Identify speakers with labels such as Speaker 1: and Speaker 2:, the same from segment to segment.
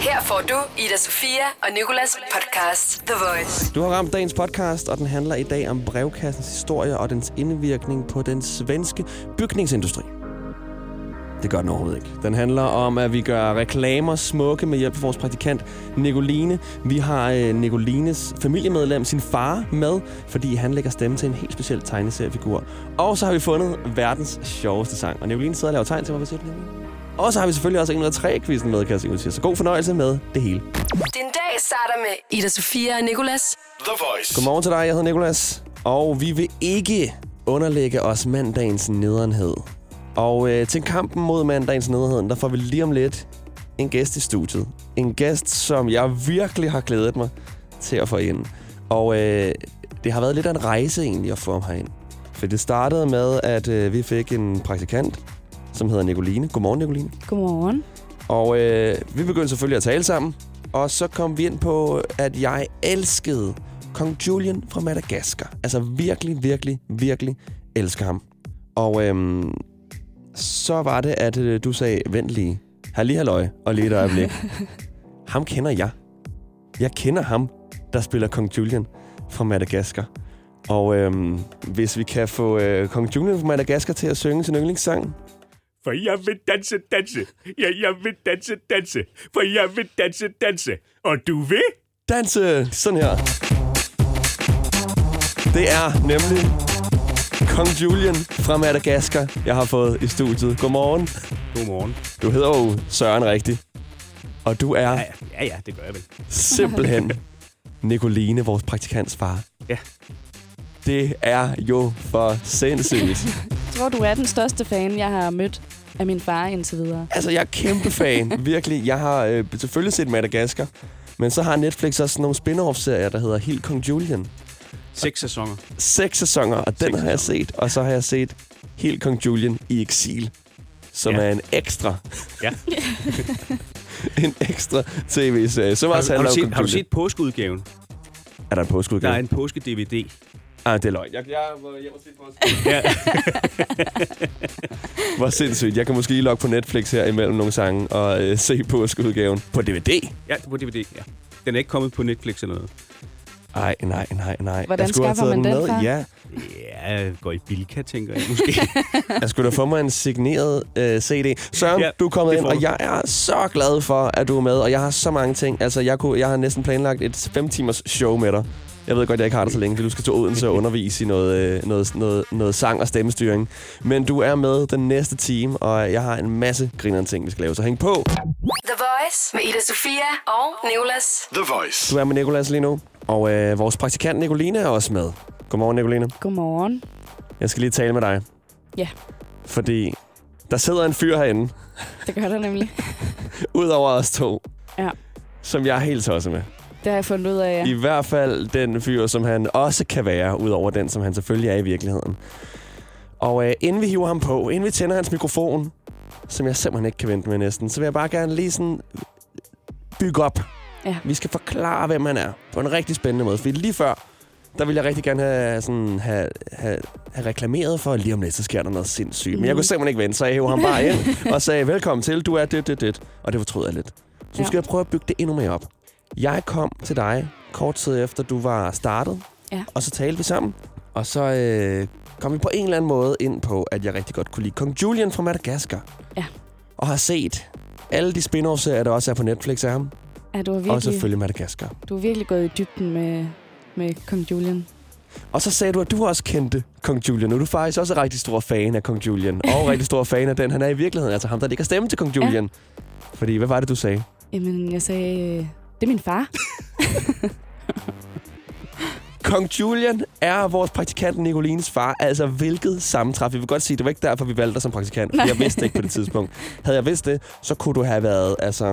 Speaker 1: Her får du Ida Sofia og Nikolas podcast The Voice.
Speaker 2: Du har ramt dagens podcast, og den handler i dag om brevkassens historie og dens indvirkning på den svenske bygningsindustri. Det gør den overhovedet ikke. Den handler om, at vi gør reklamer smukke med hjælp fra vores praktikant Nicoline. Vi har øh, Nicolines familiemedlem, sin far, med, fordi han lægger stemme til en helt speciel tegneseriefigur. Og så har vi fundet verdens sjoveste sang. Og Nicoline sidder og laver tegn til mig, hvis det Nicoline. Og så har vi selvfølgelig også 103-quizzen med, kan jeg sikkert sige. Så god fornøjelse med det hele.
Speaker 1: Din dag starter med Ida Sofia og Nikolas
Speaker 3: The Voice.
Speaker 2: Godmorgen til dig, jeg hedder Nikolas. Og vi vil ikke underlægge os mandagens nederenhed. Og øh, til kampen mod mandagens nederhed, der får vi lige om lidt en gæst i studiet. En gæst, som jeg virkelig har glædet mig til at få ind. Og øh, det har været lidt af en rejse egentlig at få ham herind. For det startede med, at øh, vi fik en praktikant, som hedder Nicoline. Godmorgen, Nicoline.
Speaker 4: Godmorgen.
Speaker 2: Og øh, vi begyndte selvfølgelig at tale sammen. Og så kom vi ind på, at jeg elskede Kong Julian fra Madagaskar. Altså virkelig, virkelig, virkelig elsker ham. Og øhm, så var det, at øh, du sagde, vent lige. Halli halløj, og lige et øjeblik. ham kender jeg. Jeg kender ham, der spiller Kong Julian fra Madagaskar. Og øhm, hvis vi kan få øh, Kong Julian fra Madagaskar til at synge sin yndlingssang,
Speaker 3: For jeg vil danse, danse. Ja, jeg vil danse, danse. For jeg vil danse, danse. Og du vil?
Speaker 2: danse øh, sådan her. Det er nemlig Kong Julian fra Madagaskar, jeg har fået i studiet. Godmorgen.
Speaker 3: Godmorgen.
Speaker 2: Du hedder jo Søren rigtigt. Og du er
Speaker 3: Ja, ja, ja, det gør jeg vel.
Speaker 2: simpelthen Nicoline, vores praktikants far.
Speaker 3: Ja.
Speaker 2: Det er jo for sindssygt.
Speaker 4: Jeg tror, du er den største fan, jeg har mødt af min far indtil videre.
Speaker 2: Altså, jeg er kæmpe fan. Virkelig. Jeg har øh, selvfølgelig set Madagaskar. Men så har Netflix også nogle spin-off-serier, der hedder Helt Kong Julian.
Speaker 3: Seks sæsoner.
Speaker 2: seks sæsoner, og den
Speaker 3: Seks
Speaker 2: har jeg
Speaker 3: sæsoner.
Speaker 2: set. Og så har jeg set helt Kong Julian i eksil, som
Speaker 3: Ja.
Speaker 2: er en ekstra,
Speaker 3: Ja.
Speaker 2: en ekstra tv-serie. Som
Speaker 3: Har,
Speaker 2: også
Speaker 3: du- har,
Speaker 2: handler
Speaker 3: du
Speaker 2: om
Speaker 3: set,
Speaker 2: Kong
Speaker 3: har du
Speaker 2: Julian.
Speaker 3: set påskeudgaven?
Speaker 2: Er der en
Speaker 3: Der er
Speaker 2: påskeudgave?
Speaker 3: en påske-DVD.
Speaker 2: Ah, det er løgn. Jeg, jeg var hjemme og set
Speaker 3: Ja.
Speaker 2: Hvor sindssygt. Jeg kan måske lige logge på Netflix her imellem nogle sange og øh, se påskeudgaven på DVD.
Speaker 3: ja, det er på DVD, ja. Den er ikke kommet på Netflix eller noget.
Speaker 2: Ej, nej, nej, nej.
Speaker 4: Hvordan
Speaker 2: jeg skulle have
Speaker 4: skaffer
Speaker 2: taget
Speaker 4: man den
Speaker 2: med.
Speaker 4: fra?
Speaker 2: Ja,
Speaker 3: Ja, går i Bilka, tænker jeg måske.
Speaker 2: jeg skulle da få mig en signeret øh, CD. Søren, ja,
Speaker 3: Ja,
Speaker 2: du er kommet
Speaker 3: det
Speaker 2: ind,
Speaker 3: får
Speaker 2: og
Speaker 3: du.
Speaker 2: jeg er så glad for, at du er med. Og jeg har så mange ting. Altså, jeg, kunne, jeg har næsten planlagt et 5 timers show med dig. Jeg ved godt, jeg ikke har det så længe, fordi du skal til Odense og undervise i noget, øh, noget, noget, noget sang og stemmestyring. Men du er med den næste time, og jeg har en masse grinerende ting, vi skal lave. Så hæng på.
Speaker 1: The Voice med Ida Sofia og Nikolas.
Speaker 3: The Voice.
Speaker 2: Du er med Nicolas lige nu, og øh, vores praktikant Nicoline er også med. Godmorgen, Nicoline.
Speaker 4: Godmorgen.
Speaker 2: Jeg skal lige tale med dig.
Speaker 4: Ja.
Speaker 2: Fordi der sidder en fyr herinde,
Speaker 4: Det gør der nemlig.
Speaker 2: ud over os to,
Speaker 4: Ja.
Speaker 2: som jeg er helt tosset med.
Speaker 4: Det har jeg fundet ud af, ja.
Speaker 2: I hvert fald den fyr, som han også kan være, ud over den, som han selvfølgelig er i virkeligheden. Og øh, inden vi hiver ham på, inden vi tænder hans mikrofon, som jeg simpelthen ikke kan vente med næsten, så vil jeg bare gerne lige sådan bygge op.
Speaker 4: Ja.
Speaker 2: Vi skal forklare, hvem han er, på en rigtig spændende måde. Fordi lige før, der ville jeg rigtig gerne have, sådan, have, have, have reklameret for, at lige om lidt, så sker der noget sindssygt. Men jeg
Speaker 4: Mhm.
Speaker 2: kunne simpelthen ikke vente, så jeg hævde ham bare ind og sagde, velkommen til, du er det, det, det. Og det fortrød jeg lidt. Så nu
Speaker 4: Ja.
Speaker 2: skal jeg prøve at bygge det endnu mere op. Jeg kom til dig kort tid efter, du var startet,
Speaker 4: Ja.
Speaker 2: og så talte vi sammen. Og så øh, kom vi på en eller anden måde ind på, at jeg rigtig godt kunne lide Kong Julian fra Madagaskar.
Speaker 4: Ja.
Speaker 2: Og har set alle de spin-off-serier, der også er på Netflix af ham. Virkelig.
Speaker 4: ja du, har
Speaker 2: Og
Speaker 4: virkelig,
Speaker 2: selvfølgelig Madagaskar.
Speaker 4: du har virkelig gået i dybden med, med Kong Julian.
Speaker 2: Og så sagde du, at du også kendte Kong Julian, og du er faktisk også en rigtig stor fan af Kong Julian. Og rigtig stor fan af den, han er i virkeligheden. Altså ham, der ligger stemme til Kong
Speaker 4: Ja.
Speaker 2: Julian. Fordi, hvad var det, du sagde?
Speaker 4: Jamen, jeg sagde, øh, det er min far.
Speaker 2: Kong Julian er vores praktikant Nicolines far. Altså, hvilket sammentræf. Jeg vil godt sige, det var ikke derfor, vi valgte dig som praktikant. Nej.
Speaker 4: Nej.
Speaker 2: Jeg vidste det ikke på det tidspunkt. Havde jeg vidst det, så kunne du have været, altså...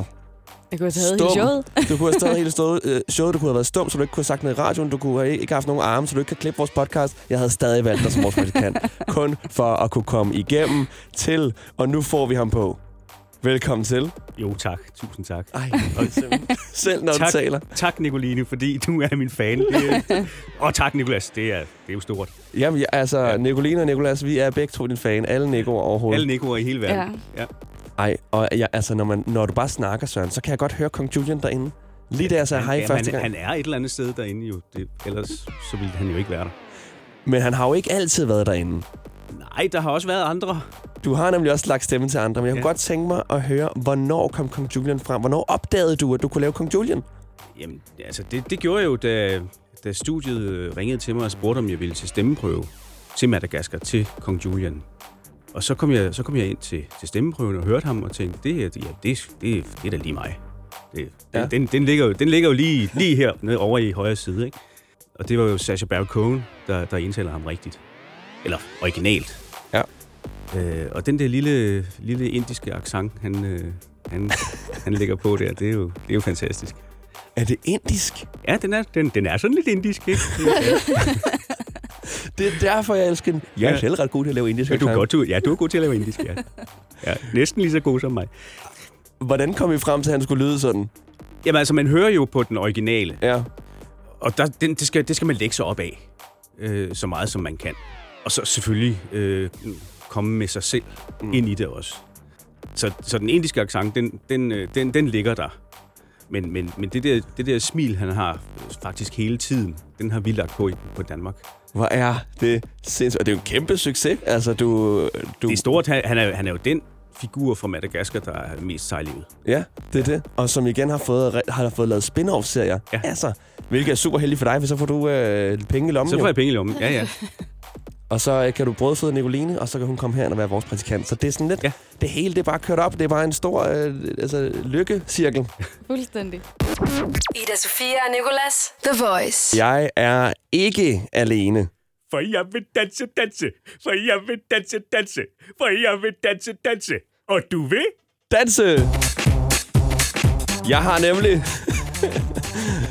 Speaker 4: Jeg kunne have taget
Speaker 2: Stum.
Speaker 4: hele showet.
Speaker 2: Du kunne have stået hele stået, øh, showet, du kunne have været stum, så du ikke kunne have sagt noget i radioen, du kunne have ikke haft nogen arme, så du ikke kan klippe vores podcast. Jeg havde stadig valgt dig som vores praktikant. Kun for at kunne komme igennem til, og nu får vi ham på. Velkommen til.
Speaker 3: Jo, tak. Tusind tak.
Speaker 2: Ej, selv når
Speaker 3: Tak.
Speaker 2: du taler.
Speaker 3: Tak, Nicoline, fordi du er min fan. Det er- Og tak, Nicolas. Det er, det er jo stort.
Speaker 2: Jamen, jeg- altså,
Speaker 3: Ja.
Speaker 2: Nicoline og Nicolas, vi er begge to din fan. Alle Nico'er overhovedet.
Speaker 3: Alle Nicoer i hele verden. Ja.
Speaker 2: Ej, og jeg, altså, når, man, når du bare snakker, Søren, så kan jeg godt høre Kong Julian derinde. Lige da jeg sagde hej
Speaker 5: ja,
Speaker 2: første
Speaker 5: han,
Speaker 2: gang.
Speaker 5: han er et eller andet sted derinde jo. Det, ellers så ville han jo ikke være der.
Speaker 2: Men han har jo ikke altid været derinde.
Speaker 5: Nej, der har også været andre.
Speaker 2: Du har nemlig også lagt stemme til andre, men jeg kunne
Speaker 5: Ja.
Speaker 2: godt tænke mig at høre, hvornår kom Kong Julian frem? Hvornår opdagede du, at du kunne lave Kong Julian?
Speaker 5: Jamen, altså, det, det gjorde jeg jo, da, da studiet øh, ringede til mig og spurgte, om jeg ville til stemmeprøve til Madagaskar, til Kong Julian. Og så kom jeg, så kom jeg ind til, til stemmeprøven og hørte ham og tænkte, det, her, ja, det, det, det er da lige mig. Det, ja.
Speaker 2: Ja.
Speaker 5: den, den, ligger jo, den ligger jo lige, lige her nede over i højre side, ikke? Og det var jo Sacha Baron Cohen, der, der indtaler ham rigtigt. Eller originalt.
Speaker 2: Ja.
Speaker 5: Øh, og den der lille, lille indiske accent, han, øh, han, han lægger på der, det er jo, det er jo fantastisk.
Speaker 2: Er det indisk?
Speaker 5: Ja, den er, den, den er sådan lidt indisk, ikke?
Speaker 2: Det er derfor, jeg elsker den. Jeg er
Speaker 5: Ja.
Speaker 2: selv ret god til at lave indisk.
Speaker 5: Men du er
Speaker 2: accent.
Speaker 5: godt, du, ja, du er god til at lave indisk, ja. ja. Næsten lige så god som mig.
Speaker 2: Hvordan kom I frem til, at han skulle lyde sådan?
Speaker 5: Jamen altså, man hører jo på den originale,
Speaker 2: Ja.
Speaker 5: og der, den, det, skal, det skal man lægge sig op af, øh, så meget som man kan. Og så selvfølgelig øh, komme med sig selv mm. ind i det også. Så, så den indiske accent, den, den, øh, den, den ligger der. Men, men, men det, der, det der smil, han har øh, faktisk hele tiden, den har vi lagt på i, på Danmark.
Speaker 2: Hvor er det sindssygt. Og det er jo en kæmpe succes. Altså, du... du
Speaker 5: Det er stort, han, han, er, han er jo den figur fra Madagaskar, der er mest sejlivet.
Speaker 2: Ja, det er det. Og som igen har fået, re- har fået lavet spin-off-serier.
Speaker 5: Ja.
Speaker 2: Altså, hvilket er super heldigt for dig, for så får du øh, penge i lommen.
Speaker 5: Så
Speaker 2: jo.
Speaker 5: får jeg penge i lommen. Ja, ja.
Speaker 2: Og så øh, kan du brødføde Nicoline, og så kan hun komme her og være vores praktikant. Så det er sådan lidt...
Speaker 5: Ja.
Speaker 2: Det hele, det er bare kørt op. Det er bare en stor øh, altså, lykkecirkel.
Speaker 4: Fuldstændig.
Speaker 1: Ida Sofia og Nicolas. The Voice.
Speaker 2: Jeg er ikke alene.
Speaker 3: For jeg vil danse, danse. For jeg vil danse, danse. For jeg vil danse, danse. Og du vil?
Speaker 2: Danse! Jeg har nemlig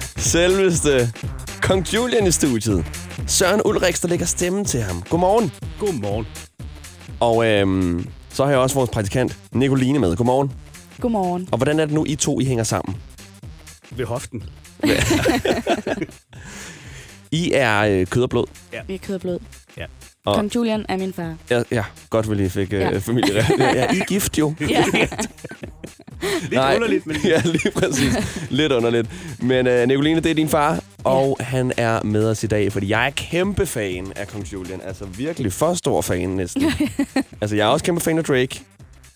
Speaker 2: selveste Kong Julian i studiet. Søren Ulriks, der lægger stemmen til ham. Godmorgen.
Speaker 5: Godmorgen.
Speaker 2: Og øhm, så har jeg også vores praktikant Nicoline med. Godmorgen.
Speaker 4: Godmorgen.
Speaker 2: Og hvordan er det nu, I to I hænger sammen?
Speaker 5: Ved hoften.
Speaker 2: I er øh, kød og blod.
Speaker 4: Vi er kød og blod.
Speaker 5: Ja.
Speaker 2: Og-
Speaker 4: Og... Kong Julian er min far.
Speaker 2: Ja, ja godt vel, I fik øh, ja.
Speaker 4: Ja.
Speaker 2: familie. Ja, I er gift jo.
Speaker 4: Ja.
Speaker 5: Lidt Nej. underligt, men
Speaker 2: ja, lige præcis. Lidt underligt. Men øh, Nicoline, det er din far, og ja. han er med os i dag, fordi jeg er kæmpe fan af Kong Julian. Altså virkelig for stor fan næsten. altså, jeg er også kæmpe fan af Drake,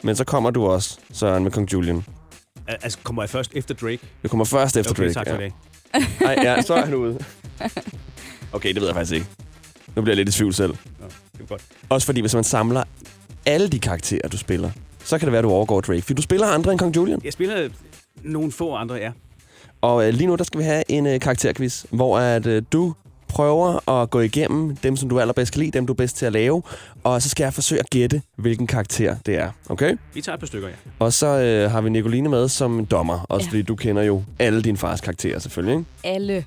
Speaker 2: men så kommer du også, Søren, med Kong Julian.
Speaker 5: Al- altså kommer jeg først efter Drake?
Speaker 2: Du kommer først efter
Speaker 5: okay,
Speaker 2: Drake.
Speaker 5: tak for det.
Speaker 2: ja. Ej, ja, så er han ude. Okay, det ved jeg faktisk ikke. Nu bliver jeg lidt i tvivl selv.
Speaker 5: Nå, det er godt.
Speaker 2: Også fordi, hvis man samler alle de karakterer, du spiller, så kan det være, at du overgår Drake. Fordi du spiller andre end Kong Julian.
Speaker 5: Jeg spiller nogle få andre, ja.
Speaker 2: Og øh, lige nu, der skal vi have en øh, karakterquiz, hvor at øh, du prøver at gå igennem dem, som du allerbedst kan lide, dem du er bedst til at lave, og så skal jeg forsøge at gætte, hvilken karakter det er, okay?
Speaker 5: Vi tager et par stykker, ja.
Speaker 2: Og så øh, har vi Nicoline med som dommer, også ja.
Speaker 4: Ja.
Speaker 2: fordi du kender jo alle dine fars karakterer selvfølgelig, ikke?
Speaker 4: Alle.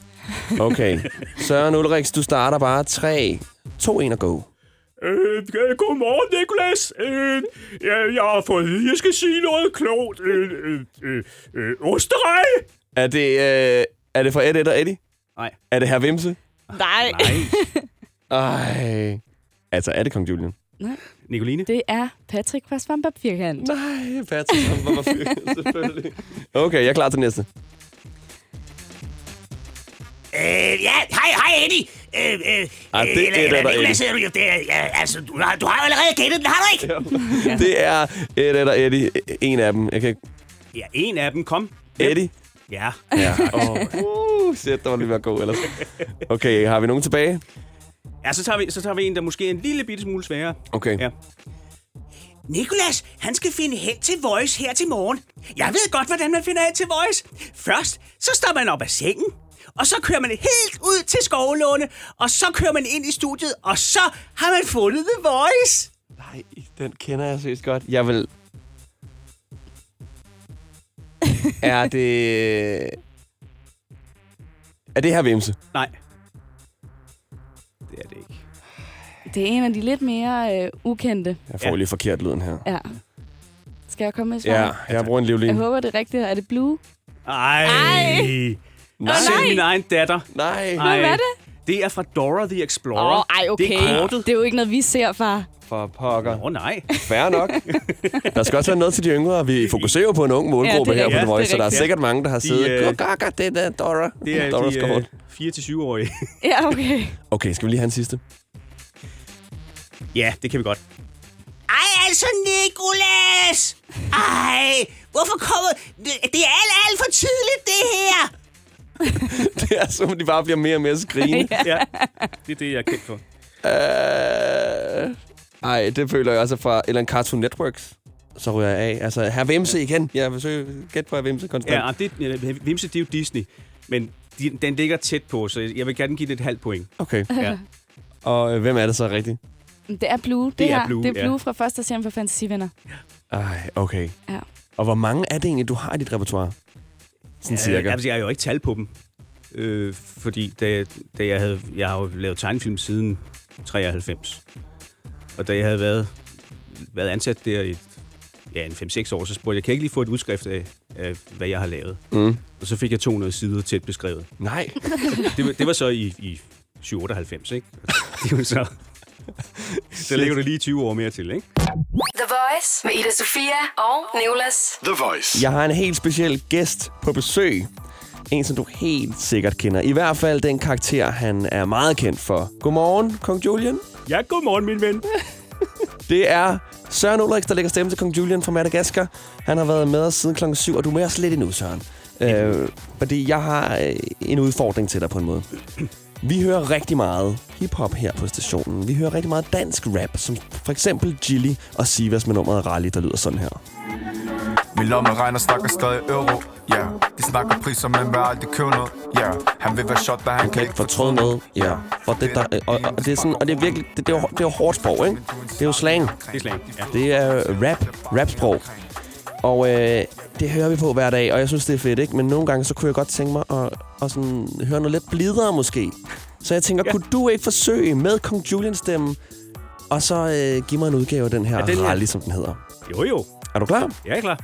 Speaker 2: Okay. Søren Ulriks, du starter bare 3, 2, 1 og go.
Speaker 3: Øh, øh, godmorgen, Nikolas. Øh, jeg, jeg har fået at vide, jeg skal sige noget klogt. Øh, øh, øh, øh, osterej!
Speaker 2: Er det, øh, er det fra Ed, Ed og Eddie?
Speaker 5: Nej.
Speaker 2: Er det herr Vimse?
Speaker 4: Nej.
Speaker 5: Nej.
Speaker 2: Ej. Altså, er det kong Julian?
Speaker 5: Nicoline?
Speaker 4: Det er Patrick fra Svampab Firkant.
Speaker 2: Nej, Patrick, han var fyr, selvfølgelig. Okay, jeg er klar til næste.
Speaker 6: Øh, ja, hej, hej, Eddie. Øh, øh,
Speaker 2: Ah, det
Speaker 6: eller-
Speaker 2: gætter
Speaker 6: eller
Speaker 2: der
Speaker 6: Nicolas
Speaker 2: ikke.
Speaker 6: hedder du jo. Det er, ja, altså, du har, du har jo allerede gættet den, har du ikke?
Speaker 2: Det er Ed eller Eddie. En af dem. Jeg kan ikke...
Speaker 5: Ja, en af dem. Kom.
Speaker 2: Eddie?
Speaker 5: Ja.
Speaker 2: Ja. Oh. Uh, shit, der var lige ved at gå ellers. Okay, har vi nogen tilbage?
Speaker 5: Ja, så tager, vi, så tager vi en, der måske er en lille bitte smule sværere.
Speaker 2: Okay.
Speaker 5: Ja.
Speaker 6: Nikolas, han skal finde hen til Voice her til morgen. Jeg ved godt, hvordan man finder hen til Voice. Først, så står man op af sengen, og så kører man helt ud til Skovlåne, og så kører man ind i studiet, og så har man fundet The Voice.
Speaker 2: Nej, den kender jeg seriøst godt. Jeg vil... er det... Er det her Vimse?
Speaker 5: Nej. Det er det ikke.
Speaker 4: Det er en af de lidt mere øh, ukendte.
Speaker 2: Jeg får ja.
Speaker 5: Ja.
Speaker 2: lige forkert lyden her.
Speaker 4: Ja. Skal jeg komme med et svar?
Speaker 2: Ja, jeg bruger en
Speaker 4: Jeg
Speaker 2: livlin.
Speaker 4: håber, det er rigtigt. Er det Blue?
Speaker 5: Ej.
Speaker 4: Ej.
Speaker 5: Selv min egen datter.
Speaker 2: Nej.
Speaker 5: Ej.
Speaker 4: Hvad var det?
Speaker 5: Det er fra Dora the Explorer.
Speaker 4: Åh, oh, ej, okay.
Speaker 5: Det er kortet.
Speaker 4: det er jo ikke noget, vi ser, far.
Speaker 2: For pokker.
Speaker 5: Åh, oh, nej.
Speaker 2: Færre nok. Der skal også være noget til de yngre, og vi fokuserer jo på en ung målgruppe
Speaker 4: Ja, det
Speaker 2: ja,
Speaker 4: er
Speaker 2: her på
Speaker 4: rigtigt.
Speaker 2: The Voice, så der
Speaker 4: Ja, det er
Speaker 2: er
Speaker 4: rigtigt.
Speaker 2: sikkert mange, der har siddet
Speaker 5: øh,
Speaker 2: og gakker det der Dora.
Speaker 5: Det er
Speaker 2: Doras
Speaker 5: de
Speaker 2: kort.
Speaker 5: øh, 4-7-årige.
Speaker 4: Ja, okay.
Speaker 2: Okay, skal vi lige have en sidste?
Speaker 5: ja, det kan vi godt.
Speaker 6: Ej, altså, Nikolas! Ej, hvorfor kommer... Det, det er alt, alt for tidligt, det her!
Speaker 2: Det er som, de bare bliver mere og mere skrigende.
Speaker 5: Ja, det er det, jeg er kendt for.
Speaker 2: Øh, Ej, det føler jeg også fra Ellen Cartoon Networks. Så ryger jeg af. Altså, her Vimse igen. Jeg forsøger gæt på her Vimse konstant.
Speaker 5: Ja, ah, det, ja, Vimse, det er jo Disney. Men de, den ligger tæt på, så jeg vil gerne give det et halvt point.
Speaker 2: Okay.
Speaker 5: Ja.
Speaker 2: Og øh, hvem er det så rigtigt?
Speaker 4: Det er Blue, det,
Speaker 5: Det er
Speaker 4: her.
Speaker 5: Blue,
Speaker 4: det er Blue
Speaker 5: ja.
Speaker 4: fra første serien for Fantasivenner.
Speaker 2: Ej, okay.
Speaker 4: Ja.
Speaker 2: Og hvor mange er det egentlig, du har i dit repertoire? Sådan
Speaker 5: Øh,
Speaker 2: cirka.
Speaker 5: altså, jeg har jo ikke tal på dem. Øh, fordi da, da jeg havde... Jeg har jo lavet tegnefilm siden 93. Og da jeg havde været, været ansat der i ja, en 5-6 år, så spurgte jeg, kan jeg ikke lige få et udskrift af, af hvad jeg har lavet? Mm. Og så fik jeg 200 sider tæt beskrevet.
Speaker 2: Nej.
Speaker 5: Det, var- det var så i, i 798, ikke? Det er jo så... Så lægger du lige 20 år mere til, ikke?
Speaker 1: The Voice med Ida Sofia og Nicolas.
Speaker 7: The Voice.
Speaker 2: Jeg har en helt speciel gæst på besøg. En, som du helt sikkert kender. I hvert fald den karakter, han er meget kendt for. Godmorgen, Kong Julian.
Speaker 3: Ja, godmorgen, min ven.
Speaker 2: Det er Søren Ulrichs, der lægger stemme til Kong Julian fra Madagaskar. Han har været med os siden klokken 7, og du er med os lidt endnu, Søren. Øh, fordi jeg har øh, en udfordring til dig på en måde. Vi hører rigtig meget hiphop her på stationen. Vi hører rigtig meget dansk rap, som for eksempel Gilly og Sivas med nummeret Rally, der lyder sådan her.
Speaker 8: Min lomme regner snakker stadig euro, ja yeah. De snakker priser, men vil aldrig købe noget, ja yeah. Han vil være shot, da han
Speaker 2: kan ikke fortryde noget. Ja. For det, der, øh, og, og, det er sådan, og det er virkelig, det, det, er, jo- det er jo hårdt sprog, ikke? Det er jo slang.
Speaker 5: Det er slang. Ja.
Speaker 2: Det er øh, rap, rapsprog. Og øh, det hører vi på hver dag, og jeg synes, det er fedt, ikke? Men nogle gange, så kunne jeg godt tænke mig at, at sådan, høre noget lidt blidere, måske. Så jeg tænker, ja. kunne du ikke forsøge med Kong Julian stemme, og så øh, give mig en udgave af den her,
Speaker 5: den
Speaker 2: den
Speaker 5: her?
Speaker 2: rally, som den hedder.
Speaker 5: Jo, jo.
Speaker 2: Er du klar?
Speaker 5: Jeg er klar.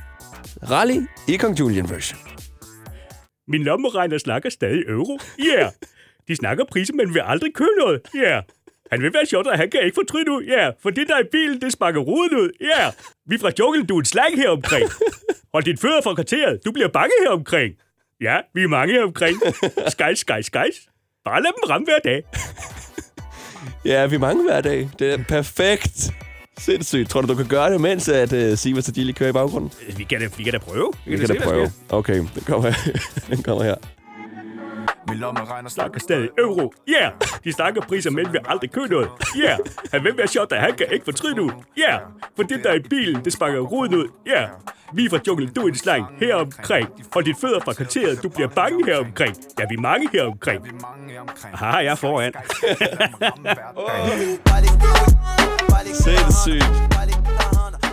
Speaker 2: Rally i Kong Julian version.
Speaker 3: Min lommeregner snakker stadig euro. Ja. Yeah. De snakker priser, men vil aldrig købe noget. Ja. Yeah. Han vil være sjovt, og han kan ikke fortryde ud. Ja, yeah. for det der er i bilen, det sparker ruden ud. Ja. Yeah. Vi er fra junglen, du er en slang her omkring. Hold dit fødder fra kvarteret, du bliver bange her omkring. Ja, vi er mange her omkring. Skejs, skejs, skejs. Bare lad dem ramme hver dag.
Speaker 2: Ja, vi er mange hver dag. Det er perfekt. Sindssygt. Tror du, du kan gøre det, mens at uh, Sivas og Gilly kører i baggrunden?
Speaker 3: Vi kan da, vi kan da prøve.
Speaker 2: Vi kan da prøve. Okay, den kommer, den kommer her.
Speaker 8: Min lomme regner
Speaker 3: snakker stadig euro. Ja, yeah. de snakker priser, men vil aldrig købe noget. Ja, yeah. han vil være sjovt, at han kan ikke fortryde ud. Ja, yeah. for det der er i bilen, det sparker roden ud. Ja, yeah. vi er fra junglen, du er en slang heromkring. Og dit fødder fra kvarteret, du bliver bange heromkring. Ja, vi er mange heromkring.
Speaker 5: Aha, jeg er foran.
Speaker 2: Sindssygt.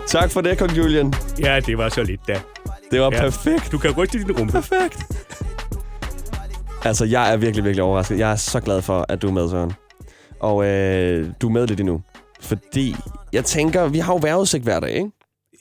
Speaker 2: Tak for det, Kong Julian.
Speaker 3: Ja, det var så lidt da.
Speaker 2: Det var
Speaker 3: Ja.
Speaker 2: ja. perfekt.
Speaker 3: Du kan ryste din rumpe.
Speaker 2: Perfekt. Altså, jeg er virkelig, virkelig overrasket. Jeg er så glad for, at du er med, Søren. Og øh, du er med lidt endnu. Fordi jeg tænker, vi har jo vejrudsigt hver dag, ikke?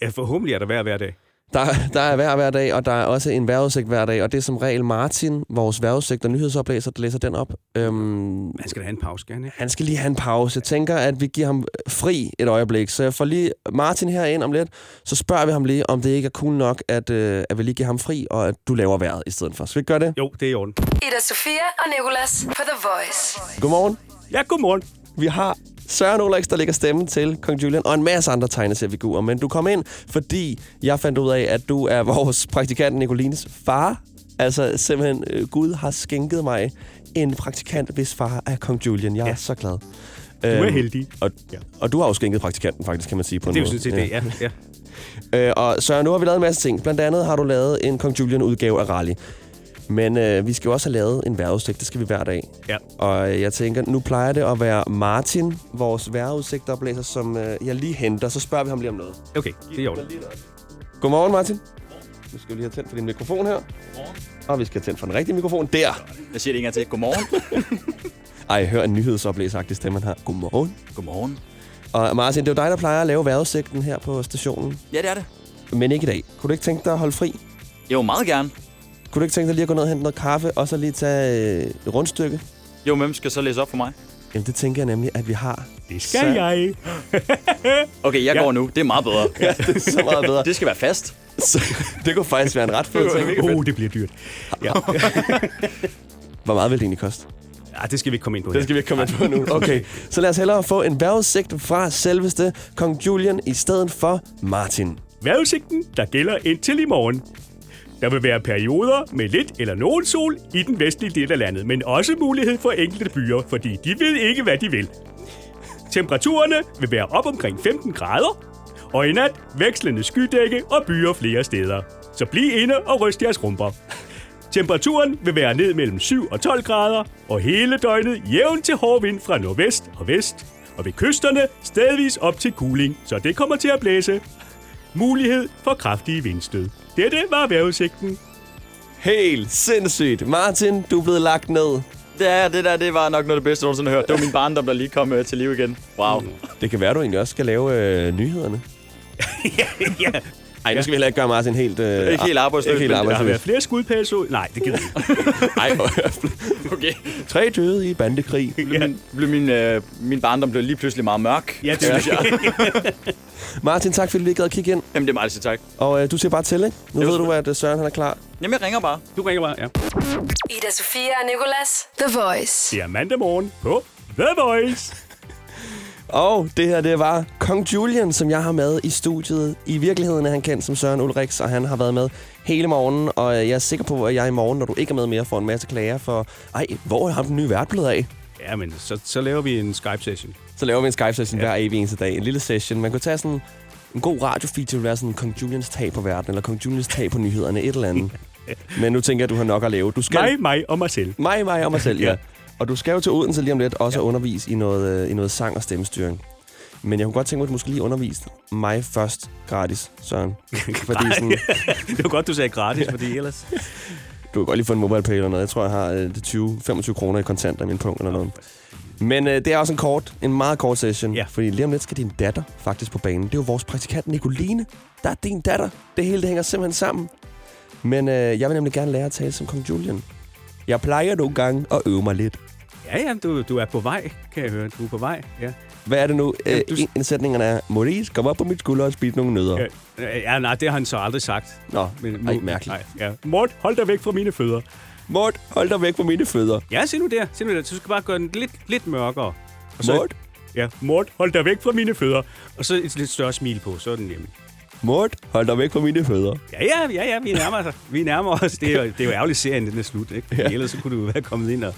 Speaker 5: Ja, forhåbentlig er der hver hver dag.
Speaker 2: Der, der er vejr hver dag, og der er også en vejrudsigt hver dag. Og det er som regel Martin, vores vejrudsigt og nyhedsoplæser, der læser den op. Øhm,
Speaker 5: Man skal da have en pause, skal han ikke?
Speaker 2: han skal lige have en pause. Jeg tænker, at vi giver ham fri et øjeblik. Så jeg får lige Martin her ind om lidt. Så spørger vi ham lige, om det ikke er cool nok, at, øh, at vi lige giver ham fri, og at du laver vejret i stedet for. Skal vi gøre det?
Speaker 5: Jo, det er i orden.
Speaker 1: Ida Sofia og Nicolas på The Voice.
Speaker 2: Godmorgen.
Speaker 5: Ja, godmorgen.
Speaker 2: Vi har Søren Ulrichs, der lægger stemmen til Kong Julian, og en masse andre tegneseriefigurer. Men du kom ind, fordi jeg fandt ud af, at du er vores praktikant Nicolines far. Altså simpelthen, øh, Gud har skænket mig en praktikant, hvis far er Kong Julian. Jeg er ja. så glad. Du
Speaker 5: er heldig.
Speaker 2: Og,
Speaker 5: Ja.
Speaker 2: og du har jo skænket praktikanten, faktisk, kan man sige på en
Speaker 5: Det er jo
Speaker 2: måde.
Speaker 5: sådan set det, ja. ja.
Speaker 2: Øh, og Søren, nu har vi lavet en masse ting. Blandt andet har du lavet en Kong Julian-udgave af Rally. Men øh, vi skal jo også have lavet en vejrudsigt. Det skal vi hver dag.
Speaker 5: Ja.
Speaker 2: Og øh, jeg tænker, nu plejer det at være Martin, vores vejrudsigtoplæser, som øh, jeg lige henter. Så spørger vi ham lige om noget.
Speaker 5: Okay, det er i orden.
Speaker 2: Godmorgen, Martin. Nu skal vi lige have tændt for din mikrofon her. Og vi skal have tændt for den rigtige mikrofon. Der!
Speaker 9: Jeg siger det ikke engang til. Godmorgen.
Speaker 2: Ej, hør en nyhedsoplæseragtig stemme, han har. Godmorgen.
Speaker 9: Godmorgen.
Speaker 2: Og Martin, det er jo dig, der plejer at lave vejrudsigten her på stationen.
Speaker 9: Ja, det er det.
Speaker 2: Men ikke i dag. Kunne du ikke tænke dig at holde fri?
Speaker 9: Jo, meget gerne.
Speaker 2: Kunne du ikke tænke dig lige at gå ned og hente noget kaffe, og så lige tage øh, et rundstykke?
Speaker 7: Jo, men hvem skal så læse op for mig?
Speaker 2: Jamen, det tænker jeg nemlig, at vi har.
Speaker 3: Det skal
Speaker 2: Så-
Speaker 3: jeg.
Speaker 7: Okay, jeg
Speaker 3: Ja.
Speaker 7: ja. går nu. Det er meget bedre. ja,
Speaker 2: Det er så meget bedre.
Speaker 7: det skal være fast.
Speaker 2: Så, det kunne faktisk være en ret fed ting.
Speaker 3: Åh, oh, det bliver dyrt.
Speaker 2: Uh, Hvor meget vil det egentlig koste?
Speaker 5: Ja, Ah, det skal vi ikke komme ind på
Speaker 2: Det skal vi ikke komme ind på nu. Okay, så lad os hellere få en vejrudsigt fra selveste Kong Julian i stedet for Martin.
Speaker 3: Vejrudsigten, der gælder indtil i morgen. Der vil være perioder med lidt eller nogen sol i den vestlige del af landet, men også mulighed for enkelte byer, fordi de ved ikke, hvad de vil. Temperaturerne vil være op omkring 15 grader, og i nat vekslende skydække og byer flere steder. Så bliv inde og ryst jeres rumper. Temperaturen vil være ned mellem 7 og 12 grader, og hele døgnet jævn til hård vind fra nordvest og vest, og ved kysterne stadigvis op til kuling, så det kommer til at blæse. Mulighed for kraftige vindstød. Dette var vejrudsigten.
Speaker 2: Helt sindssygt. Martin, du er blevet lagt ned.
Speaker 7: Ja, det der, det var nok noget af det bedste, jeg nogensinde har hørt. Det var min barndom, der lige kom øh, til live igen. Wow.
Speaker 2: Det kan være, du egentlig også skal lave øh, nyhederne.
Speaker 5: ja.
Speaker 2: Ej, nu skal vi heller ikke gøre Martin helt... Øh,
Speaker 7: Ikke helt arbejdsløs,
Speaker 2: Ikke helt
Speaker 7: men det
Speaker 3: Der har været
Speaker 2: arbejdsløs.
Speaker 3: flere skudpasser. Nej, det gider jeg ikke.
Speaker 2: Ej,
Speaker 7: Okay.
Speaker 2: tre døde i bandekrig.
Speaker 7: Blev min, blev min, øh, min barndom blev lige pludselig meget mørk.
Speaker 3: Ja, det synes jeg.
Speaker 2: Martin, tak fordi du lige gad at kigge ind.
Speaker 7: Jamen, det er meget sige tak.
Speaker 2: Og øh, du siger bare til, ikke? Nu
Speaker 7: Jo,
Speaker 2: ved du, at øh, Søren han er klar.
Speaker 7: Jamen, jeg ringer bare.
Speaker 5: Du ringer bare, ja.
Speaker 1: Ida Sofia og Nicolas. The Voice.
Speaker 3: Det er mandag morgen på The Voice.
Speaker 2: Og det her, det var Kong Julian, som jeg har med i studiet. I virkeligheden er han kendt som Søren Ulrichs, og han har været med hele morgenen. Og øh, jeg er sikker på, at jeg i morgen, når du ikke er med mere, får en masse klager for... Ej, hvor er ham den nye vært blevet af?
Speaker 5: Ja, men så, så laver vi en Skype-session.
Speaker 2: Så laver vi en Skype-session ja. hver evig eneste dag. En lille session. Man kunne tage sådan en god radiofeed til at være sådan Kong Julians tag på verden, eller Kong Julians tag på nyhederne, et eller andet. Men nu tænker jeg, at du har nok at lave. Du skal...
Speaker 3: Mig, mig og mig selv.
Speaker 2: Mig, mig og mig selv, ja.
Speaker 3: Ja.
Speaker 2: Og du skal jo til Odense lige om lidt også ja. undervise i noget, øh, i noget sang og stemmestyring. Men jeg kunne godt tænke mig, at du måske lige underviste mig først gratis, Søren. Fordi sådan,
Speaker 5: Det var godt, du sagde gratis, fordi ellers...
Speaker 2: du kan godt lige få en mobile pay eller noget. Jeg tror, jeg har øh, 20, 25 kroner i kontanter i min punkt eller noget. Men øh, det er også en kort, en meget kort session.
Speaker 5: Ja.
Speaker 2: Fordi lige om lidt skal din datter faktisk på banen. Det er jo vores praktikant Nicoline. Der er din datter. Det hele det hænger simpelthen sammen. Men øh, jeg vil nemlig gerne lære at tale som Kong Julian. Jeg plejer nogle gange at øve mig lidt.
Speaker 5: Ja, ja, du, du er på vej, kan jeg høre. Du er på vej, ja.
Speaker 2: Hvad er det nu?
Speaker 5: Jamen,
Speaker 2: Jamen,
Speaker 5: du-
Speaker 2: du... En af sætningerne er, Maurice, kom op på mit skulder og spid nogle nødder.
Speaker 3: Ja.
Speaker 2: Ja.
Speaker 5: Øh, Ja, nej, det har han så aldrig sagt.
Speaker 2: Nå,
Speaker 5: Men
Speaker 2: ej, mærkeligt.
Speaker 5: Nej, ja.
Speaker 3: Mort, hold dig væk fra mine fødder.
Speaker 2: Mort, hold dig væk fra mine fødder.
Speaker 5: ja, se nu der. Se nu der. Så du skal bare gøre den lidt, lidt mørkere. Og så,
Speaker 2: Mort,
Speaker 3: Ja, Mort, hold dig væk fra mine fødder.
Speaker 5: Og så et lidt større smil på, så er den nemlig.
Speaker 2: Mort, hold dig væk fra mine fødder.
Speaker 5: Ja, ja, ja, ja, vi nærmer os. Vi nærmer os. Det er jo, det er jo ærgerligt, serien den er slut, ikke? Ja. Ellers så kunne du være kommet ind og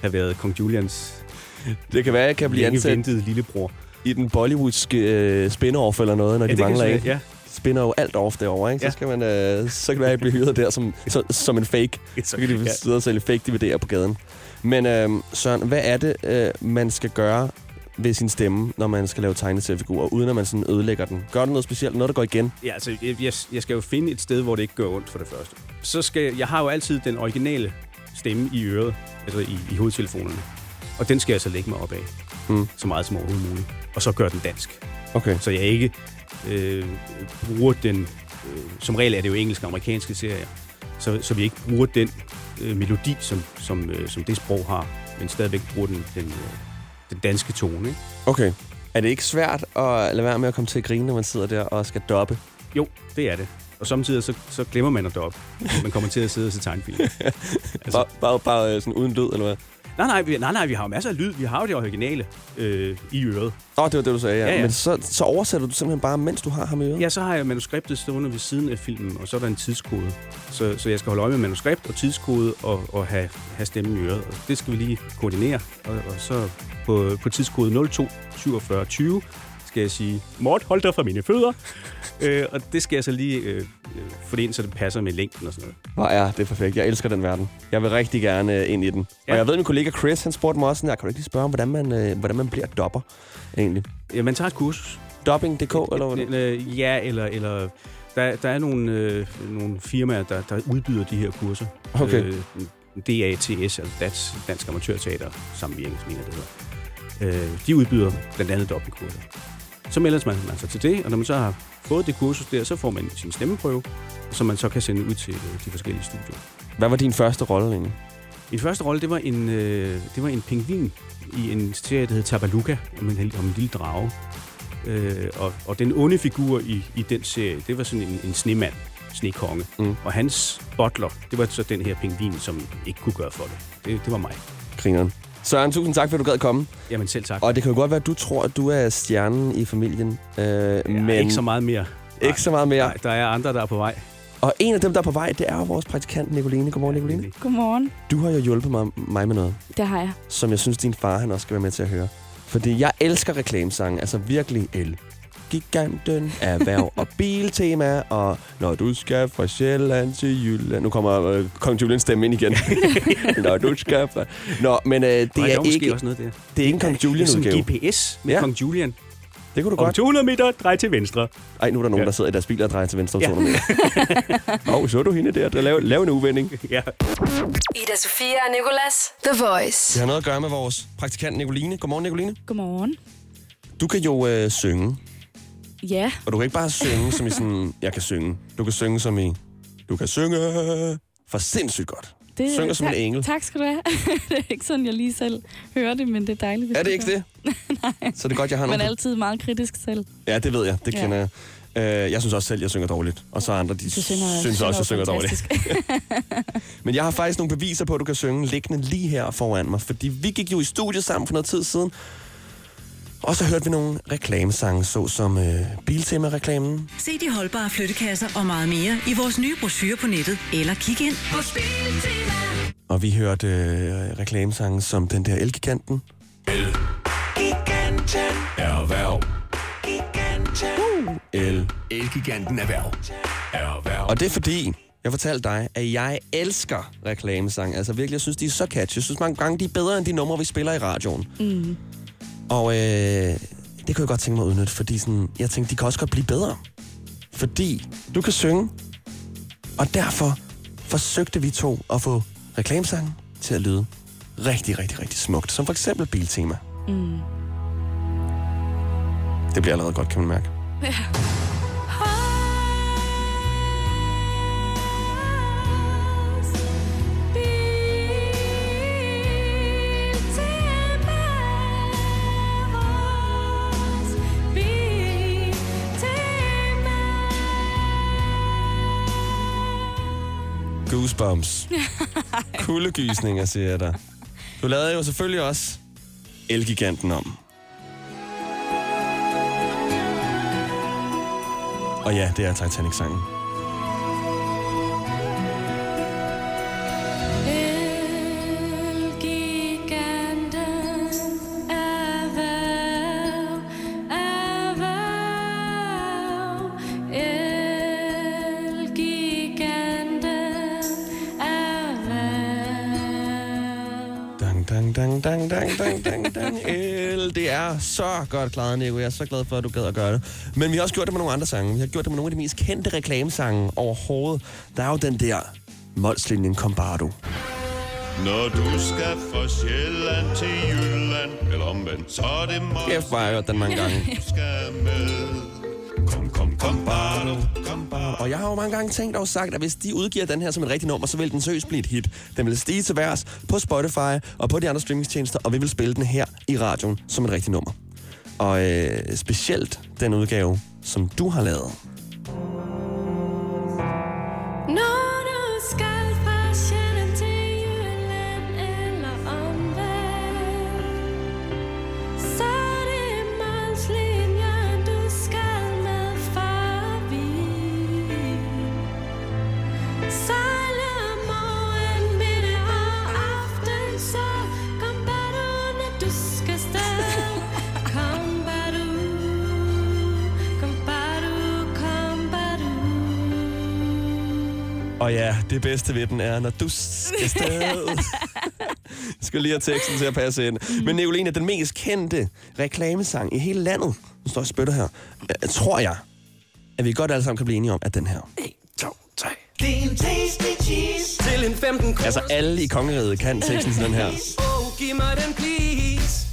Speaker 5: have været Kong Julians
Speaker 2: Det kan være, jeg kan blive
Speaker 5: længe
Speaker 2: ansat
Speaker 5: ventede lillebror.
Speaker 2: i den bollywoodske øh, spin-off eller noget, når ja, de
Speaker 5: det kan
Speaker 2: mangler
Speaker 5: sådan-
Speaker 2: en. Ja.
Speaker 5: Ja,
Speaker 2: Spinner jo alt off derovre, ikke? Ja.
Speaker 5: Ja.
Speaker 2: Så, skal man, øh, så kan det være, at blive hyret der som, så, som en fake.
Speaker 5: Et
Speaker 2: Så kan de
Speaker 5: ja.
Speaker 2: sidde og sælge fake DVD'er på gaden. Men øh, Søren, hvad er det, øh, man skal gøre ved sin stemme, når man skal lave tegneseriefigurer, uden at man sådan ødelægger den? Gør du noget specielt? Noget, der går igen?
Speaker 5: Ja, altså, jeg, jeg, jeg skal jo finde et sted, hvor det ikke gør ondt for det første. Så skal jeg har jo altid den originale stemme i øret, altså i, i hovedtelefonerne. Og den skal jeg så lægge mig op af,
Speaker 2: Mm.
Speaker 5: mm. så meget som overhovedet muligt. Og så gør den dansk,
Speaker 2: Okay.
Speaker 5: så jeg ikke øh, bruger den... Øh, som regel er det jo engelske og amerikanske serier, så, så vi ikke bruger den øh, melodi, som, som, øh, som det sprog har, men stadigvæk bruger den, den, øh, den danske tone. Ikke?
Speaker 2: Okay. Er det ikke svært at lade være med at komme til at grine, når man sidder der og skal doppe?
Speaker 5: Jo, det er det. Og samtidig så, så glemmer man at deroppe. Man kommer til at sidde og se tegnfilm.
Speaker 2: Altså, bare, bare, bare øh, sådan uden lyd, eller hvad?
Speaker 5: Nej, nej, vi, nej, nej, vi har jo masser af lyd. Vi har jo det originale øh, i øret.
Speaker 2: Åh, oh, det var det, du sagde, ja.
Speaker 5: Ja, ja.
Speaker 2: Men så, så oversætter du simpelthen bare, mens du har ham i øret?
Speaker 5: Ja, så har jeg manuskriptet stående ved siden af filmen, og så er der en tidskode. Så, så jeg skal holde øje med manuskript og tidskode og, og have, have stemmen i øret. Og det skal vi lige koordinere. Og, og så på, på tidskode 02 47 20 skal jeg sige...
Speaker 3: Mort, hold dig fra mine fødder.
Speaker 5: Øh, og det skal jeg så lige øh, øh, få det ind, så det passer med længden og sådan noget.
Speaker 2: Hvor er det perfekt. Jeg elsker den verden. Jeg vil rigtig gerne øh, ind i den. Ja.
Speaker 5: Ja.
Speaker 2: Og jeg ved, min kollega Chris, han spurgte mig også sådan her, kan du ikke lige spørge om, hvordan man, øh, hvordan man bliver dopper egentlig?
Speaker 5: Ja, man tager et kursus.
Speaker 2: Dopping.dk, eller hvad? det-
Speaker 5: Øh, ja, eller... eller der, der er nogle, øh, nogle firmaer, der, der udbyder de her kurser.
Speaker 2: Okay.
Speaker 5: Øh, DATS, altså Dansk, Dansk Amatørteater Sammenvirkning, mener jeg, det hedder. Øh, de udbyder blandt andet dobbeltkurser. Så melder man, man sig til det, og når man så har fået det kursus der, så får man sin stemmeprøve, som man så kan sende ud til øh, de forskellige studier.
Speaker 2: Hvad var din første rolle egentlig?
Speaker 5: Min første rolle, det var en, øh, det var en pingvin i en serie, der hed Tabaluga, om en, om en lille drage. Øh, og, og den onde figur i, i den serie, det var sådan en, en snemand, snekonge. Mm. Og hans butler, det var så den her pingvin, som ikke kunne gøre for det. Det, det var mig.
Speaker 2: Grineren. Søren, tusind tak, fordi du gad komme.
Speaker 5: Jamen selv tak.
Speaker 2: Og det kan jo godt være, at du tror, at du er stjernen i familien. Øh, ja, men
Speaker 5: Men... Ikke så meget mere.
Speaker 2: Ikke så meget mere.
Speaker 5: Nej, der er andre, der er på vej.
Speaker 2: Og en af dem, der er på vej, det er jo vores praktikant, Nicoline. Godmorgen, Nicoline.
Speaker 4: Godmorgen.
Speaker 2: Du har jo hjulpet mig, mig med noget,
Speaker 4: Det har jeg.
Speaker 2: som jeg synes, din far han også skal være med til at høre. Fordi jeg elsker reklamesange, altså virkelig el. Giganten, erhverv og biltema, og når du skal fra Sjælland til Jylland... Nu kommer øh, Kong Julians stemme ind igen. når du skal fra... Nå, men øh, det,
Speaker 5: Og
Speaker 2: er
Speaker 5: måske
Speaker 2: ikke,
Speaker 5: også noget der.
Speaker 2: det er ikke en Kong Julian-udgave.
Speaker 5: Som GPS med
Speaker 2: Ja.
Speaker 5: ja. Kong Julian.
Speaker 2: Det kunne du
Speaker 3: Om
Speaker 2: godt.
Speaker 3: 200 meter, drej til venstre.
Speaker 2: Ej, nu er der nogen,
Speaker 5: Ja.
Speaker 2: der sidder i deres biler og drejer til venstre om
Speaker 5: Ja.
Speaker 2: 200 meter. Åh, oh, så du hende der. der lav, lav en uvending.
Speaker 5: Ja.
Speaker 1: Ida Sofia og Nicolas. The Voice.
Speaker 2: Det har noget at gøre med vores praktikant Nicoline. Godmorgen, Nicoline.
Speaker 4: Godmorgen.
Speaker 2: Du kan jo øh, synge,
Speaker 4: Ja,
Speaker 2: og du kan ikke bare synge som i sådan, jeg kan synge. Du kan synge som i, du kan synge for sindssygt godt.
Speaker 4: det
Speaker 2: Synger som en
Speaker 4: tak-
Speaker 2: engel.
Speaker 4: Tak skal du have. det er ikke sådan, jeg lige selv hører det, men det er dejligt. hvis
Speaker 2: Er det
Speaker 4: du
Speaker 2: ikke
Speaker 4: gør.
Speaker 2: det? Nej. Så er det godt, jeg har
Speaker 4: Men
Speaker 2: nogen.
Speaker 4: altid meget kritisk selv.
Speaker 2: Ja, det ved jeg. Det
Speaker 4: Ja.
Speaker 2: kender jeg. Øh, jeg synes også selv, jeg synger dårligt. Og så andre, de
Speaker 4: Du synger,
Speaker 2: synes også, jeg synger dårligt.
Speaker 4: fantastisk.
Speaker 2: Men jeg har faktisk nogle beviser på, at du kan synge liggende lige her foran mig. Fordi vi gik jo i studiet sammen for noget tid siden. Og så hørte vi nogle reklamesange, såsom øh, Biltema-reklamen.
Speaker 9: Se de holdbare flyttekasser og meget mere i vores nye brochure på nettet, eller kig ind på
Speaker 2: Og vi hørte øh, reklamesange som den der Elgiganten. Elgiganten. Erhverv. Giganten. Uh, el.
Speaker 10: Elgiganten Erhverv. Erhverv.
Speaker 2: Og det er fordi, jeg fortalte dig, at jeg elsker reklamesange. Altså virkelig, jeg synes, de er så catchy. Jeg synes mange gange, de er bedre end de numre, vi spiller i radioen. Mm. Og øh, det kunne jeg godt tænke mig at udnytte, fordi sådan, jeg tænkte, de kan også godt blive bedre. Fordi du kan synge, og derfor forsøgte vi to at få reklamesangen til at lyde rigtig, rigtig, rigtig smukt. Som for eksempel Biltema. Mm. Det bliver allerede godt, kan man mærke. Goosebumps. Kuldegysninger, siger jeg dig. Du lavede jo selvfølgelig også Elgiganten om. Og ja, det er Titanic-sangen. Dang, dang, dang, dang, dang, dang, dang, dang. El, det er så godt klaret, Nico. Jeg er så glad for, at du gad at gøre det. Men vi har også gjort det med nogle andre sange. Vi har gjort det med nogle af de mest kendte reklamesange overhovedet. Der er jo den der Molslinjen Combardo.
Speaker 10: Når du skal fra Sjælland til Jylland, eller omvendt, så er det mig,
Speaker 2: Kæft, hvor har jeg hørt den mange gange.
Speaker 10: du skal med. Kom, kom, kom, bare du, kom, bare
Speaker 2: Og jeg har jo mange gange tænkt og sagt, at hvis de udgiver den her som et rigtigt nummer, så vil den seriøst blive et hit. Den vil stige til værs på Spotify og på de andre streamingstjenester, og vi vil spille den her i radioen som et rigtigt nummer. Og øh, specielt den udgave, som du har lavet. Og ja, det bedste ved den er, når du skal sted. Jeg skal lige have teksten til at passe ind. Men Nicoline er den mest kendte reklamesang i hele landet. Nu står jeg og spytter her. Øh, tror jeg, at vi godt alle sammen kan blive enige om, at den her. 1, 2, 3. Altså alle i kongeriget kan teksten til den her.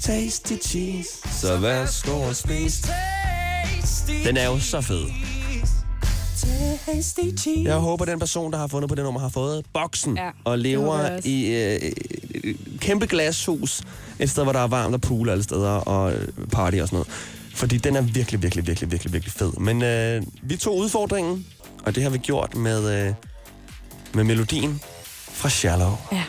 Speaker 2: Tasty cheese, så vær stor og spis. Den er jo så fed.
Speaker 11: tasty cheese.
Speaker 2: Jeg håber, den person, der har fundet på det nummer, har fået boksen
Speaker 11: Ja,
Speaker 2: ja, og
Speaker 11: det håber jeg
Speaker 2: lever
Speaker 11: også.
Speaker 2: i øh, et kæmpe glashus, et sted, hvor der er varmt og pool alle steder og øh, party og sådan noget. Fordi den er virkelig, virkelig, virkelig, virkelig, virkelig fed. Men øh, vi tog udfordringen, og det har vi gjort med, øh, med melodien fra Shallow.
Speaker 4: Ja.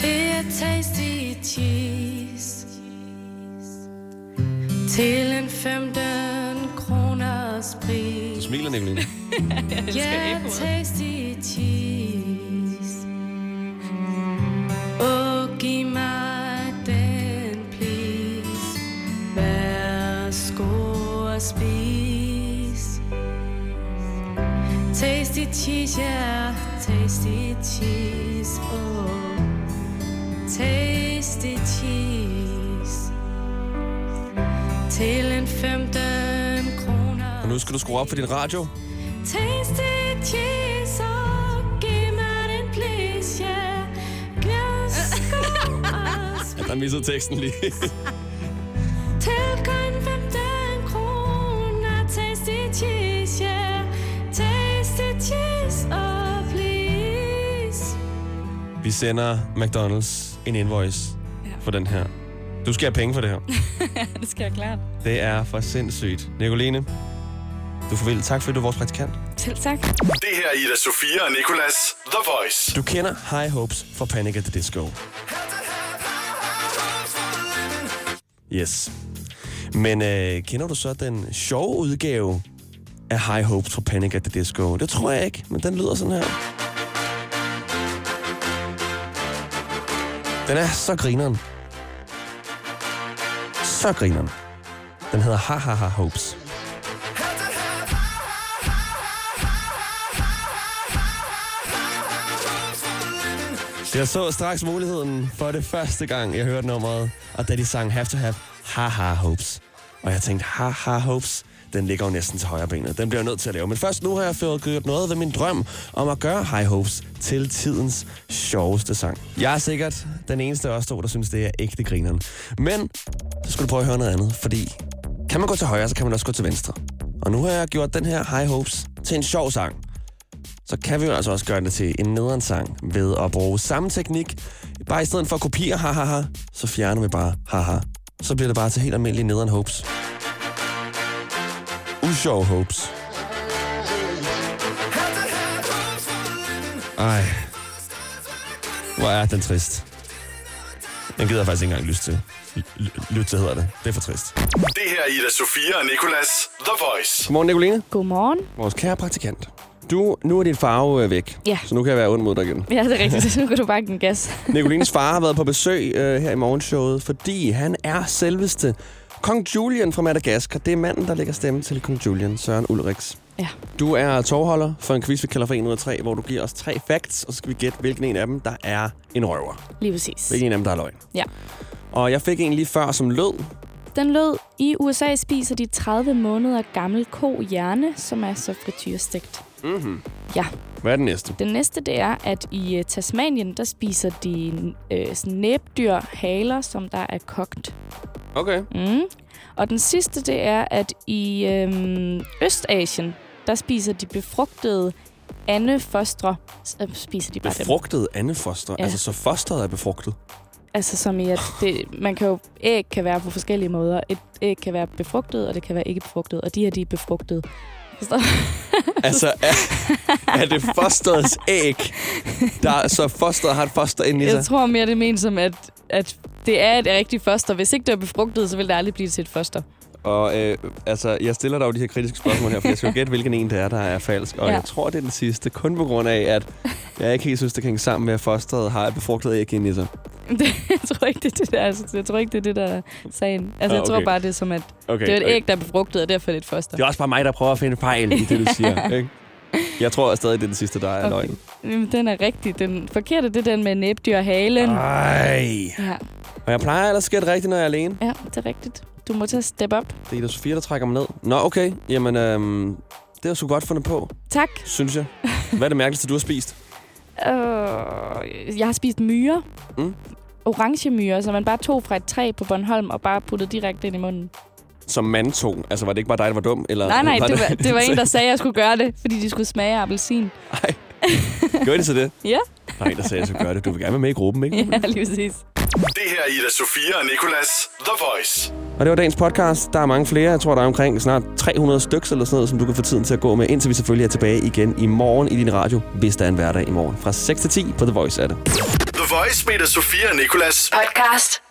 Speaker 11: Det er tasty cheese Til en 15 kroners
Speaker 2: Du
Speaker 11: pris
Speaker 2: smiler, Nicoline.
Speaker 11: Ja, tasty cheese Åh, giv mig den, please Værsgo og spis Tasty cheese, yeah Tasty cheese, oh Tasty cheese Til en 15 kroner
Speaker 2: Og nu skal du skrue op for din radio.
Speaker 11: Tasty cheese, og giv mig den, please, yeah. Glasko og
Speaker 2: Ja, der missede teksten lige.
Speaker 11: Til kun 15 kroner. Tasty cheese, yeah. Tasty cheese, og please.
Speaker 2: vi sender McDonald's en invoice for den her. Du skal have penge for det her.
Speaker 4: det skal jeg klart.
Speaker 2: Det er for sindssygt. Nicoline, du får vel. Tak fordi du er vores praktikant.
Speaker 4: Selv tak.
Speaker 12: Det her er Ida Sofia og Nikolas The Voice.
Speaker 2: Du kender High Hopes fra Panic at the Disco. Yes. Men øh, kender du så den sjove udgave af High Hopes fra Panic at the Disco? Det tror jeg ikke, men den lyder sådan her. Den er så grineren. Så grineren. Den hedder Ha Ha Ha Hopes. Jeg så straks muligheden for det første gang, jeg hørte nummeret, og da de sang Have to Have, Ha Ha Hopes. Og jeg tænkte, Ha Ha Hopes, den ligger jo næsten til højre benet. Den bliver jeg nødt til at lave. Men først nu har jeg fået gjort noget ved min drøm om at gøre High Hopes til tidens sjoveste sang. Jeg er sikkert den eneste af os to, der synes, det er ægte grineren. Men så skulle du prøve at høre noget andet, fordi kan man gå til højre, så kan man også gå til venstre. Og nu har jeg gjort den her High Hopes til en sjov sang så kan vi jo altså også gøre det til en nederen sang ved at bruge samme teknik. Bare i stedet for at kopiere hahaha, så fjerner vi bare haha. Så bliver det bare til helt almindelige nederen hopes. Usjov hopes. Ej. Hvor er den trist. Den gider jeg faktisk ikke engang lyst til. Lyt til hedder det. Det er for trist.
Speaker 12: Det her er Ida Sofia og Nikolas The Voice.
Speaker 2: Godmorgen, Nicoline.
Speaker 4: Godmorgen.
Speaker 2: Vores kære praktikant. Du, nu er din farve øh, væk,
Speaker 4: Ja.
Speaker 2: så nu kan jeg være ond mod dig igen.
Speaker 4: Ja, det er rigtigt. Nu kan du bare give den gas.
Speaker 2: Nicolines far har været på besøg øh, her i morgenshowet, fordi han er selveste Kong Julian fra Madagaskar. Det er manden, der lægger stemme til Kong Julian, Søren Ulriks.
Speaker 4: Ja.
Speaker 2: Du er tovholder for en quiz, vi kalder for 1 ud af 3, hvor du giver os tre facts, og så skal vi gætte, hvilken en af dem, der er en røver.
Speaker 4: Lige præcis.
Speaker 2: Hvilken en af dem, der er løgn.
Speaker 4: Ja.
Speaker 2: Og jeg fik en lige før, som lød.
Speaker 4: Den lød, i USA spiser de 30 måneder gammel ko hjerne, som er så frityrestegt.
Speaker 2: Mm-hmm.
Speaker 4: Ja.
Speaker 2: Hvad er den næste?
Speaker 4: Den næste, det er, at i øh, Tasmanien, der spiser de øh, sådan næbdyr haler, som der er kogt.
Speaker 2: Okay.
Speaker 4: Mm. Og den sidste, det er, at i øhm, Østasien, der spiser de befrugtede andefostre. Så spiser de bare
Speaker 2: Befrugtet andefoster.
Speaker 4: Ja.
Speaker 2: Ja. Altså, så fosteret er befrugtet.
Speaker 4: dem. Altså som i, at det, man kan jo, æg kan være på forskellige måder. Et æg kan være befrugtet, og det kan være ikke befrugtet. Og de her, de er befrugtet. Forstår du?
Speaker 2: Altså, er, er det fosterets æg, der er- så fosteret har et foster inde i sig?
Speaker 4: Jeg tror mere, det menes som, at, at det er et rigtigt foster. Hvis ikke det er befrugtet, så vil det aldrig blive til et foster.
Speaker 2: Og øh, altså, jeg stiller dig jo de her kritiske spørgsmål her, for jeg skal jo gætte, hvilken en det er, der er falsk. Og
Speaker 4: Ja.
Speaker 2: ja. jeg tror, det er den sidste, kun på grund af, at jeg ikke helt synes, det kan hænge sammen med, at fosteret har et befrugtet æg inde i sig.
Speaker 4: Det, jeg tror ikke, det er det, der, altså, jeg tror ikke, det er det, der er sagen. Altså,
Speaker 2: Ah,
Speaker 4: jeg tror
Speaker 2: okay.
Speaker 4: bare, det er som, at
Speaker 2: Okay,
Speaker 4: det er et
Speaker 2: okay.
Speaker 4: æg, der er befrugtet, og derfor er det et foster.
Speaker 2: Det er også bare mig, der prøver at finde fejl i det, du siger. Ikke? Jeg tror stadig, det er den sidste, der er okay.
Speaker 4: Okay.
Speaker 2: løgn.
Speaker 4: Jamen, den er rigtig. Den forkerte, det er den med næbdyr og halen.
Speaker 2: Ej.
Speaker 4: Ja,
Speaker 2: Og jeg plejer ellers at gætte rigtigt, når jeg er alene.
Speaker 4: ja, det er rigtigt. Du må tage step op.
Speaker 2: Det er Ida Sofia, der trækker mig ned. Nå, okay. Jamen, øhm, det er sgu godt fundet på,
Speaker 4: Tak.
Speaker 2: synes jeg. Hvad er det mærkeligste, du har spist?
Speaker 4: Øh, jeg har spist myre.
Speaker 2: Mm.
Speaker 4: orange myrer, som man bare tog fra et træ på Bornholm og bare puttede direkte ind i munden.
Speaker 2: Som mand tog. Altså, var det ikke bare dig, der var dum? Eller,
Speaker 4: Nej, nej, det var, det var en, der sagde, at jeg skulle gøre det, fordi de skulle smage af appelsin.
Speaker 2: Gør det så det?
Speaker 4: Ja.
Speaker 2: Der var en, der sagde, at jeg skulle gøre det. Du vil gerne være med i gruppen, ikke?
Speaker 4: Ja, lige præcis.
Speaker 12: Det her er Ida Sofia og Nikolas The Voice.
Speaker 2: Og det var dagens podcast. Der er mange flere. Jeg tror, der er omkring snart 300 stykker eller sådan noget, som du kan få tiden til at gå med, indtil vi selvfølgelig er tilbage igen i morgen i din radio, hvis der er en hverdag i morgen. Fra 6 til 10 på The Voice er det.
Speaker 12: The Voice med Ida Sofia og Nikolas.
Speaker 1: Podcast.